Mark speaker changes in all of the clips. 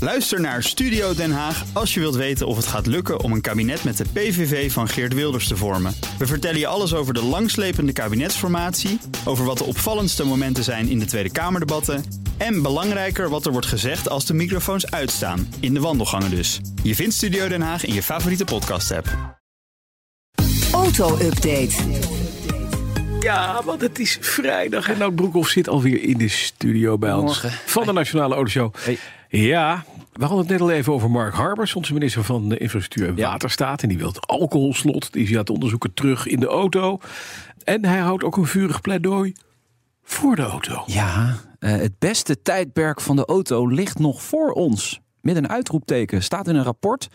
Speaker 1: Luister naar Studio Den Haag als je wilt weten of het gaat lukken om een kabinet met de PVV van Geert Wilders te vormen. We vertellen je alles over de langslepende kabinetsformatie, over wat de opvallendste momenten zijn in de Tweede Kamerdebatten en belangrijker wat er wordt gezegd als de microfoons uitstaan, in de wandelgangen dus. Je vindt Studio Den Haag in je favoriete podcast-app.
Speaker 2: Auto-update.
Speaker 3: Ja, want het is vrijdag en Nout Broekhoff zit alweer in de studio bij ons.
Speaker 4: Morgen.
Speaker 3: Van de Nationale Autoshow. Ja, we hadden het net al even over Mark Harbers, onze minister van eh, Infrastructuur en
Speaker 4: Ja.
Speaker 3: Waterstaat. En die wil het alcoholslot, die gaat onderzoeken terug in de auto. En hij houdt ook een vurig pleidooi voor de auto.
Speaker 4: Ja, eh, het beste tijdperk van de auto ligt nog voor ons. Met een uitroepteken staat in een rapport.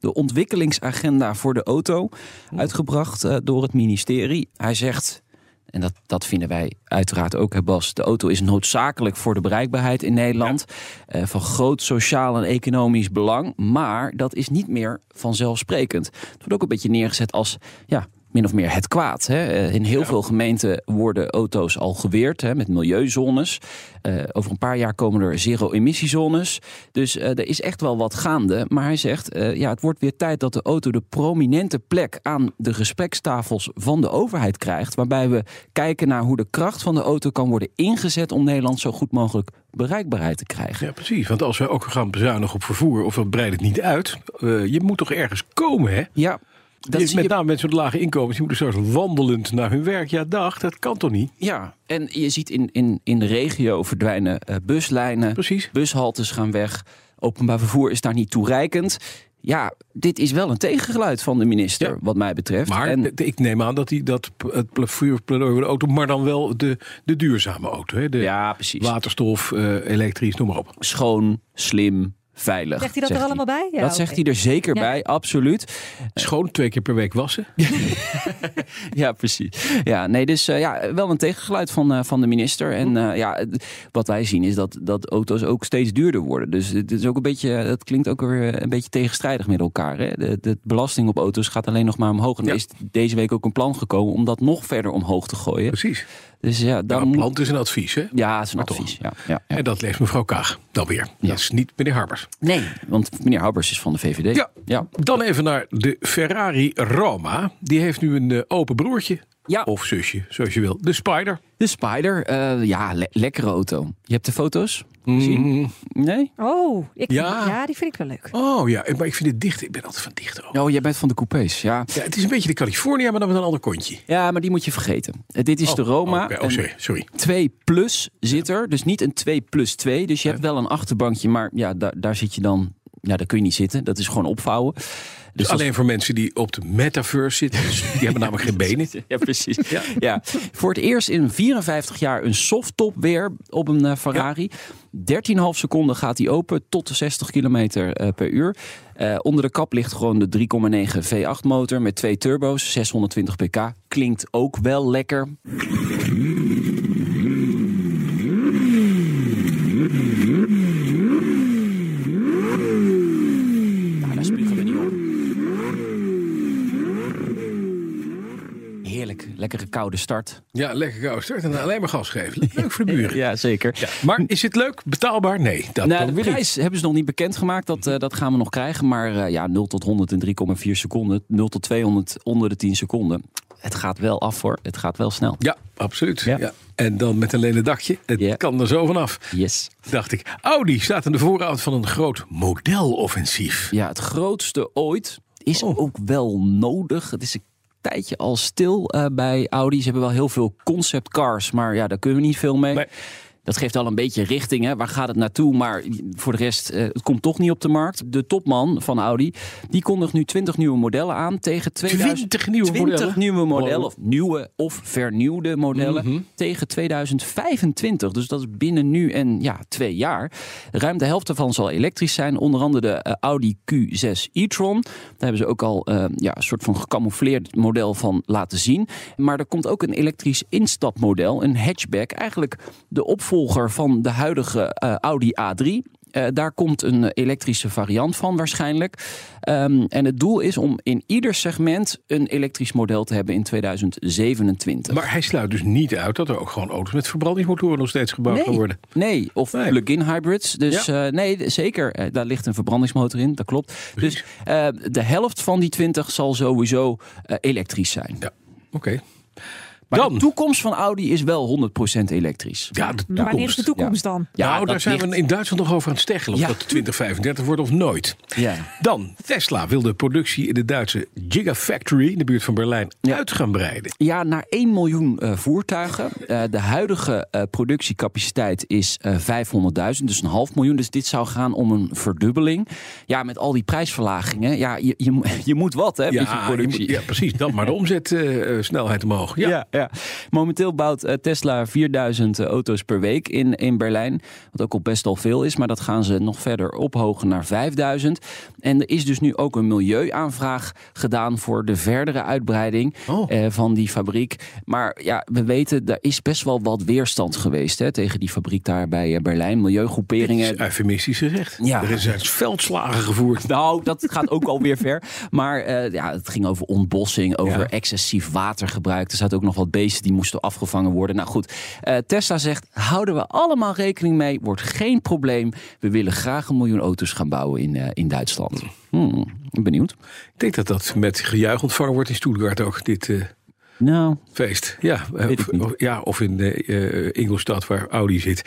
Speaker 4: De ontwikkelingsagenda voor de auto. Uitgebracht eh, door het ministerie. Hij zegt. En dat, dat vinden wij uiteraard ook, hè Bas. De auto is noodzakelijk voor de bereikbaarheid in Nederland. eh, van groot sociaal en economisch belang. Maar dat is niet meer vanzelfsprekend. Het wordt ook een beetje neergezet als ja, min of meer het kwaad. Hè? Eh, In heel veel gemeenten worden auto's al geweerd hè, met milieuzones. Eh, over een paar jaar komen er zero-emissiezones. Dus eh, er is echt wel wat gaande. Maar hij zegt, eh, ja, het wordt weer tijd dat de auto de prominente plek aan de gesprekstafels van de overheid krijgt. Waarbij we kijken naar hoe de kracht van de auto kan worden ingezet om Nederland zo goed mogelijk bereikbaarheid te krijgen.
Speaker 3: Ja, precies. Want als we ook gaan bezuinigen op vervoer, of we breiden het niet uit. eh, je moet toch ergens komen, hè?
Speaker 4: Ja, dat
Speaker 3: met
Speaker 4: zie je
Speaker 3: name mensen met lage inkomens, die moeten straks wandelend naar hun werk. Ja, dag, dat kan toch niet?
Speaker 4: Ja, en je ziet in, in, in de regio verdwijnen eh, buslijnen.
Speaker 3: Precies.
Speaker 4: Bushaltes gaan weg. Openbaar vervoer is daar niet toereikend. Ja, dit is wel een tegengeluid van de minister,
Speaker 3: Ja.
Speaker 4: wat mij betreft.
Speaker 3: Maar
Speaker 4: en,
Speaker 3: d- ik neem aan dat hij dat p- het pla- vuur- pleidooi voor de auto, maar dan wel de, de duurzame auto. Hè? De
Speaker 4: ja, precies.
Speaker 3: waterstof, eh, elektrisch, noem maar op.
Speaker 4: Schoon, slim, veilig.
Speaker 5: Zegt hij dat er allemaal bij? Ja,
Speaker 4: dat zegt
Speaker 5: oké.
Speaker 4: hij er zeker
Speaker 5: Ja.
Speaker 4: bij, absoluut.
Speaker 3: Schoon twee keer per week wassen.
Speaker 4: Ja, precies. Ja, nee, dus eh, ja, wel een tegengeluid van, eh, van de minister. En eh, ja, het- wat wij zien is dat, dat auto's ook steeds duurder worden. Dus het is ook een beetje, het klinkt ook weer eh, een beetje tegenstrijdig met elkaar. Hè? De, de belasting op auto's gaat alleen nog maar omhoog. En
Speaker 3: Ja.
Speaker 4: er is deze week ook een plan gekomen om dat nog verder omhoog te gooien.
Speaker 3: Precies.
Speaker 4: Dus ja,
Speaker 3: Ja,
Speaker 4: dan.
Speaker 3: een plant is een advies, hè?
Speaker 4: Ja, het is een
Speaker 3: toch.
Speaker 4: advies. Ja, ja, ja.
Speaker 3: En dat leest mevrouw Kaag dan weer. Dat is niet meneer Harbers.
Speaker 4: Nee, want meneer Habbers is van de VVD.
Speaker 3: Ja.
Speaker 4: ja.
Speaker 3: Dan even naar de Ferrari Roma. Die heeft nu een eh, open broertje.
Speaker 4: Ja.
Speaker 3: Of zusje, zoals je wil. De Spider.
Speaker 4: De Spider, eh, ja, le- lekkere auto. Je hebt de foto's gezien? Nee?
Speaker 5: Oh, ik,
Speaker 3: Ja.
Speaker 5: ja. die vind ik wel leuk.
Speaker 3: Oh ja, maar ik vind het dicht. Ik ben altijd van dicht ook.
Speaker 4: Oh, jij bent van de coupés, ja.
Speaker 3: Ja, het is een beetje de California, maar dan met een ander kontje.
Speaker 4: Ja, maar die moet je vergeten. Eh, Dit is de Roma.
Speaker 3: Oké, oh,
Speaker 4: Een
Speaker 3: sorry, sorry.
Speaker 4: 2 plus zit er. Dus niet een 2 plus 2. Dus je hebt wel een achterbankje. Maar ja, daar, daar zit je dan. Ja, daar kun je niet zitten. Dat is gewoon opvouwen. Dus
Speaker 3: Dus
Speaker 4: dat-
Speaker 3: alleen voor mensen die op de metaverse zitten. Dus Die hebben namelijk geen benen.
Speaker 4: Ja, precies. Ja. Voor het eerst in 54 jaar een softtop weer op een eh, Ferrari. 13,5 seconden gaat hij open tot de 60 kilometer eh, per uur. Eh, onder de kap ligt gewoon de 3,9 V8 motor met twee turbo's, 620 pk. Klinkt ook wel lekker. Ja, daar spugen we niet op. Heerlijk, lekkere koude start.
Speaker 3: Ja, lekker koud. En dan alleen maar gas geven. Leuk voor de buren.
Speaker 4: Ja, zeker.
Speaker 3: Maar is het leuk? Betaalbaar? Nee, dat
Speaker 4: Nou,
Speaker 3: dan
Speaker 4: de
Speaker 3: weer niet.
Speaker 4: prijs hebben ze nog niet bekendgemaakt. Dat, eh, dat gaan we nog krijgen. Maar eh, ja, 0 tot 100 in 3,4 seconden. 0 tot 200 onder de 10 seconden. Het gaat wel af hoor. Het gaat wel snel.
Speaker 3: Ja, absoluut. Ja.
Speaker 4: Ja.
Speaker 3: En dan met een lene dakje. Het
Speaker 4: Ja.
Speaker 3: kan er zo vanaf,
Speaker 4: Yes.
Speaker 3: dacht ik. Audi staat aan de vooravond van een groot modeloffensief.
Speaker 4: Ja, het grootste ooit is ook wel nodig. Het is een tijdje al stil eh, bij Audi. Ze hebben wel heel veel concept cars. Maar ja, daar kunnen we niet veel mee.
Speaker 3: Nee.
Speaker 4: Dat geeft al een beetje richting. Hè? Waar gaat het naartoe? Maar voor de rest, eh, het komt toch niet op de markt. De topman van Audi, die kondigt nu 20 nieuwe modellen aan tegen 2000...
Speaker 3: 20 nieuwe
Speaker 4: 20
Speaker 3: modellen.
Speaker 4: nieuwe modellen,
Speaker 3: Wow. Mhm.
Speaker 4: of nieuwe of vernieuwde modellen, tegen 2025. Dus dat is binnen nu en ja, twee jaar. Ruim de helft daarvan zal elektrisch zijn. Onder andere de eh, Audi Q6 e-tron. Daar hebben ze ook al eh, ja, een soort van gecamoufleerd model van laten zien. Maar er komt ook een elektrisch instapmodel, een hatchback. Eigenlijk de opvolger van de huidige eh, Audi A3. Eh, daar komt een eh, elektrische variant van waarschijnlijk. Ehm, en het doel is om in ieder segment een elektrisch model te hebben in 2027.
Speaker 3: Maar hij sluit dus niet uit dat er ook gewoon auto's met verbrandingsmotoren nog steeds gebouwd gaan worden.
Speaker 4: Nee, of
Speaker 3: Nee.
Speaker 4: plug-in hybrids. Dus eh, nee, d- zeker. Eh, daar ligt een verbrandingsmotor in, dat klopt. Dus eh, de helft van die 20 zal sowieso eh, elektrisch zijn.
Speaker 3: Ja, oké.
Speaker 4: Maar de
Speaker 3: Dan,
Speaker 4: toekomst van Audi is wel 100% elektrisch.
Speaker 3: ja, de
Speaker 5: Maar wanneer is
Speaker 3: toekomst.
Speaker 5: de toekomst dan?
Speaker 4: Ja,
Speaker 3: nou, daar
Speaker 4: dat
Speaker 3: zijn we
Speaker 4: ligt-
Speaker 3: in Duitsland nog over aan het steggelen. Of
Speaker 4: Ja.
Speaker 3: dat 2035 wordt of nooit.
Speaker 4: Ja.
Speaker 3: Dan, Tesla wil de productie in de Duitse Gigafactory in de buurt van Berlijn uit gaan breiden.
Speaker 4: Ja, naar 1 miljoen eh, voertuigen. Eh, de huidige eh, productiecapaciteit is eh 500.000, dus een half miljoen. Dus dit zou gaan om een verdubbeling. Ja, met al die prijsverlagingen. Ja, je, je, mo- je moet wat, hè? met je productie.
Speaker 3: ja, precies. Dan maar de omzetsnelheid omhoog. Ja.
Speaker 4: Ja. Ja, Momenteel bouwt eh, Tesla 4000 auto's per week in, in Berlijn. Wat ook al best al veel is, maar dat gaan ze nog verder ophogen naar 5000. En er is dus nu ook een milieuaanvraag gedaan voor de verdere uitbreiding
Speaker 3: Oh.
Speaker 4: eh, van die fabriek. Maar ja, we weten, daar is best wel wat weerstand geweest hè, tegen die fabriek daar bij eh, Berlijn.
Speaker 3: Dat
Speaker 4: Milieugroeperingen.
Speaker 3: is eufemistisch gezegd.
Speaker 4: Ja.
Speaker 3: Er zijn veldslagen gevoerd.
Speaker 4: Nou, dat gaat ook alweer ver. Maar eh, ja, het ging over ontbossing, over
Speaker 3: Ja.
Speaker 4: excessief watergebruik. Er zaten ook nog wat beesten die moesten afgevangen worden. Nou goed, eh, Tesla zegt, houden we allemaal rekening mee. Wordt geen probleem. We willen graag een miljoen auto's gaan bouwen in, eh, in Duitsland. Hmm, benieuwd.
Speaker 3: Ik denk dat dat met gejuich ontvangen wordt in Stuttgart ook, dit eh,
Speaker 4: Nou,
Speaker 3: feest. Ja, eh,
Speaker 4: Weet ik
Speaker 3: of,
Speaker 4: niet.
Speaker 3: of- ja, of in eh, eh, Ingolstadt waar Audi zit.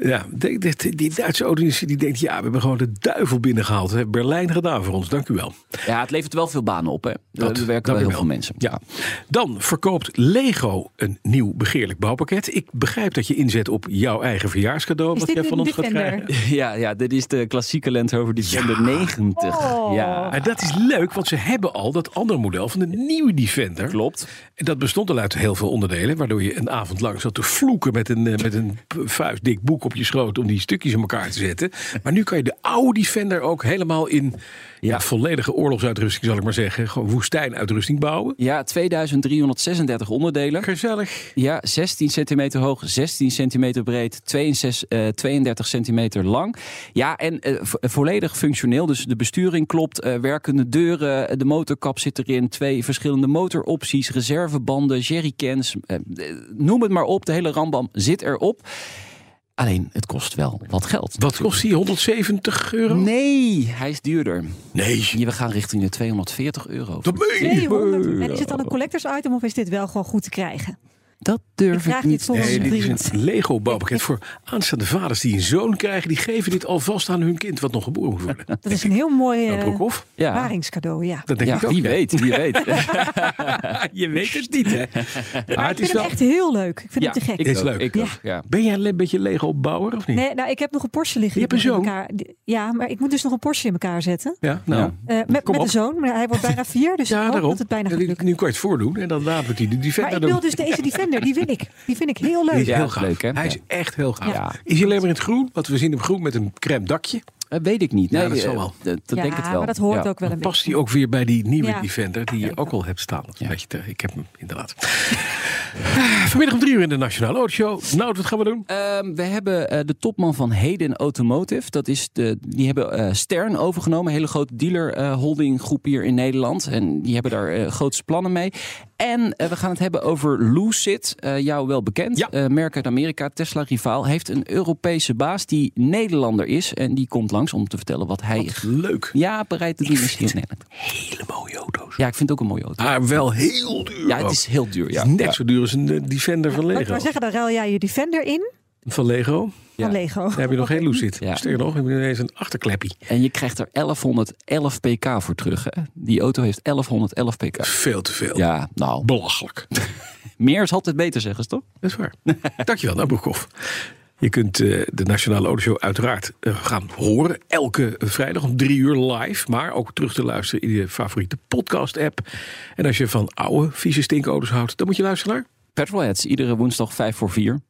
Speaker 3: Ja, denk dat die Duitse auto die denkt, ja, we hebben gewoon de duivel binnengehaald. We hebben Berlijn gedaan voor ons, dank u wel.
Speaker 4: ja, het levert wel veel banen op. Hè.
Speaker 3: Dat-
Speaker 4: er werken
Speaker 3: dat
Speaker 4: wel heel
Speaker 3: weer wel.
Speaker 4: veel mensen.
Speaker 3: Ja. Dan verkoopt Lego een nieuw begeerlijk bouwpakket. Ik begrijp dat je inzet op jouw eigen verjaarscadeau.
Speaker 5: Is
Speaker 3: wat
Speaker 5: dit
Speaker 3: jij
Speaker 5: nu
Speaker 3: van
Speaker 5: de
Speaker 3: ons gaat
Speaker 5: Defender?
Speaker 3: krijgen.
Speaker 4: Ja, ja, dit is de klassieke Land Rover Defender 90.
Speaker 5: Oh.
Speaker 4: Ja,
Speaker 3: Maar Ah, dat is leuk, want ze hebben al dat andere model van de nieuwe Defender.
Speaker 4: klopt.
Speaker 3: En dat bestond al uit heel veel onderdelen, waardoor je een avond lang zat te vloeken met een, eh, met een p- vuistdik boek op je schoot om die stukjes in elkaar te zetten. Maar nu kan je de oude Defender ook helemaal in ja, volledige oorlogsuitrusting, zal ik maar zeggen, gewoon woestijnuitrusting bouwen.
Speaker 4: Ja, 2336 onderdelen.
Speaker 3: Gezellig.
Speaker 4: Ja, 16 centimeter hoog, 16 centimeter breed, 62, eh, 32 centimeter lang. Ja, en eh, vo- volledig functioneel. Dus de besturing klopt, eh, werkende deuren, eh, de motorkap zit erin, twee verschillende motoropties, reservebanden, jerrycans, eh, eh, noem het maar op. De hele rambam zit erop. Alleen, het kost wel wat geld.
Speaker 3: Wat kost die? 170 euro?
Speaker 4: Nee, hij is duurder.
Speaker 3: Nee.
Speaker 4: We gaan richting de 240 euro.
Speaker 3: Dat meen je niet.
Speaker 5: 200. En is het dan een collectors item of is dit wel gewoon goed te krijgen?
Speaker 4: Dat
Speaker 5: Ik
Speaker 4: durf ik,
Speaker 5: vraag dit
Speaker 4: niet
Speaker 5: soms
Speaker 3: Nee,
Speaker 5: aan een
Speaker 3: dit
Speaker 5: vriend.
Speaker 3: is een Lego bouwpakket voor aanstaande vaders die een zoon krijgen. Die geven dit alvast aan hun kind wat nog geboren moet worden.
Speaker 5: Dat is een heel mooi
Speaker 3: Nou,
Speaker 5: eh,
Speaker 3: Broekhoff,
Speaker 4: Ja,
Speaker 5: paringscadeau, ja.
Speaker 3: dat denk
Speaker 4: ja
Speaker 3: ik ook.
Speaker 4: wie
Speaker 3: ja.
Speaker 4: weet, wie weet.
Speaker 3: Je weet het niet, hè? Maar
Speaker 5: Ik vind het echt heel leuk. Ik vind het te gek.
Speaker 4: ik
Speaker 3: Dit is
Speaker 4: ook,
Speaker 3: leuk.
Speaker 4: Ik
Speaker 5: Ja.
Speaker 4: ook, ja.
Speaker 3: Ben jij een beetje Lego-bouwer of niet?
Speaker 5: Nee, nou, ik heb nog een Porsche liggen.
Speaker 3: Je
Speaker 5: die
Speaker 3: hebt
Speaker 5: ik
Speaker 3: een
Speaker 5: nog in elkaar- die- Ja, maar ik moet dus nog een Porsche in elkaar zetten.
Speaker 3: Ja, nou.
Speaker 4: Ja.
Speaker 5: Eh, met
Speaker 3: Kom
Speaker 5: met
Speaker 3: op.
Speaker 5: een zoon. Maar hij wordt bijna vier, dus ik
Speaker 3: Ja,
Speaker 5: hoop
Speaker 3: daarom.
Speaker 5: dat het bijna gaat
Speaker 3: Nu-
Speaker 5: lukken.
Speaker 3: Nu kan je het voordoen en dan laat die, die
Speaker 5: Maar
Speaker 3: Defender
Speaker 5: ik wil
Speaker 3: doen.
Speaker 5: dus deze Defender, die wil ik. Die vind ik heel
Speaker 3: Die
Speaker 5: leuk.
Speaker 3: is
Speaker 4: Ja,
Speaker 3: heel gaaf.
Speaker 4: leuk, hè?
Speaker 3: Hij is
Speaker 4: Ja.
Speaker 3: echt heel gaaf.
Speaker 5: Ja.
Speaker 3: Is hij alleen maar in het groen? Want we zien hem groen met een crème dakje.
Speaker 4: Eh, weet ik niet.
Speaker 3: Ja,
Speaker 4: Nee,
Speaker 3: dat
Speaker 4: eh,
Speaker 3: zal wel.
Speaker 4: Dat, dat
Speaker 5: ja,
Speaker 4: denk ik wel.
Speaker 5: maar dat hoort
Speaker 4: Ja.
Speaker 5: ook wel een
Speaker 3: Past
Speaker 5: beetje.
Speaker 3: hij ook weer bij die nieuwe
Speaker 5: Ja.
Speaker 3: Defender die je ook al hebt staan? Dat is een beetje te- ik heb hem inderdaad. Vanmiddag om drie uur in de Nationale Autoshow. Nou, wat gaan we doen?
Speaker 4: Ehm, we hebben eh, de topman van Heden Automotive. Dat is de, die hebben eh, Stern overgenomen. Een hele grote dealer eh, holding groep hier in Nederland. En die hebben daar eh grootste plannen mee. En eh, we gaan het hebben over Lucid. eh, jou wel bekend.
Speaker 3: Ja.
Speaker 4: Eh, merk uit Amerika, Tesla rivaal. Heeft een Europese baas die Nederlander is. En die komt langs om te vertellen wat hij
Speaker 3: Leuk.
Speaker 4: ja, bereid te doen is
Speaker 3: vind
Speaker 4: hier in Nederland.
Speaker 3: Hele mooie auto's.
Speaker 4: Ja, ik vind het ook een mooie auto.
Speaker 3: Maar wel heel duur.
Speaker 4: Ja, het
Speaker 3: ook.
Speaker 4: is heel duur. Ja.
Speaker 3: Ah, oh. Het is net
Speaker 4: Ja.
Speaker 3: zo duur als een eh, Defender van
Speaker 5: Laat ik
Speaker 3: Lego.
Speaker 5: maar zeggen, dan ruil jij je Defender in
Speaker 3: Van Lego.
Speaker 5: van
Speaker 4: Ja.
Speaker 5: Lego.
Speaker 3: Daar heb je nog geen loes zit.
Speaker 4: Ja.
Speaker 3: Sterker nog, heb je ineens een achterkleppie.
Speaker 4: En je krijgt er 1111 pk voor terug. Hè? Die auto heeft 1111 pk.
Speaker 3: Veel te veel.
Speaker 4: Ja, nou,
Speaker 3: Belachelijk.
Speaker 4: meer is altijd beter, zeggen ze toch?
Speaker 3: Dat is waar. Dankjewel, nou Broekhoff. Je kunt eh, de Nationale Autoshow uiteraard eh, gaan horen. Elke vrijdag om drie uur live. Maar ook terug te luisteren in je favoriete podcast-app. En als je van oude, vieze stinkauto's houdt... dan moet je luisteren naar
Speaker 4: Petrolheads, iedere woensdag 5 voor 4.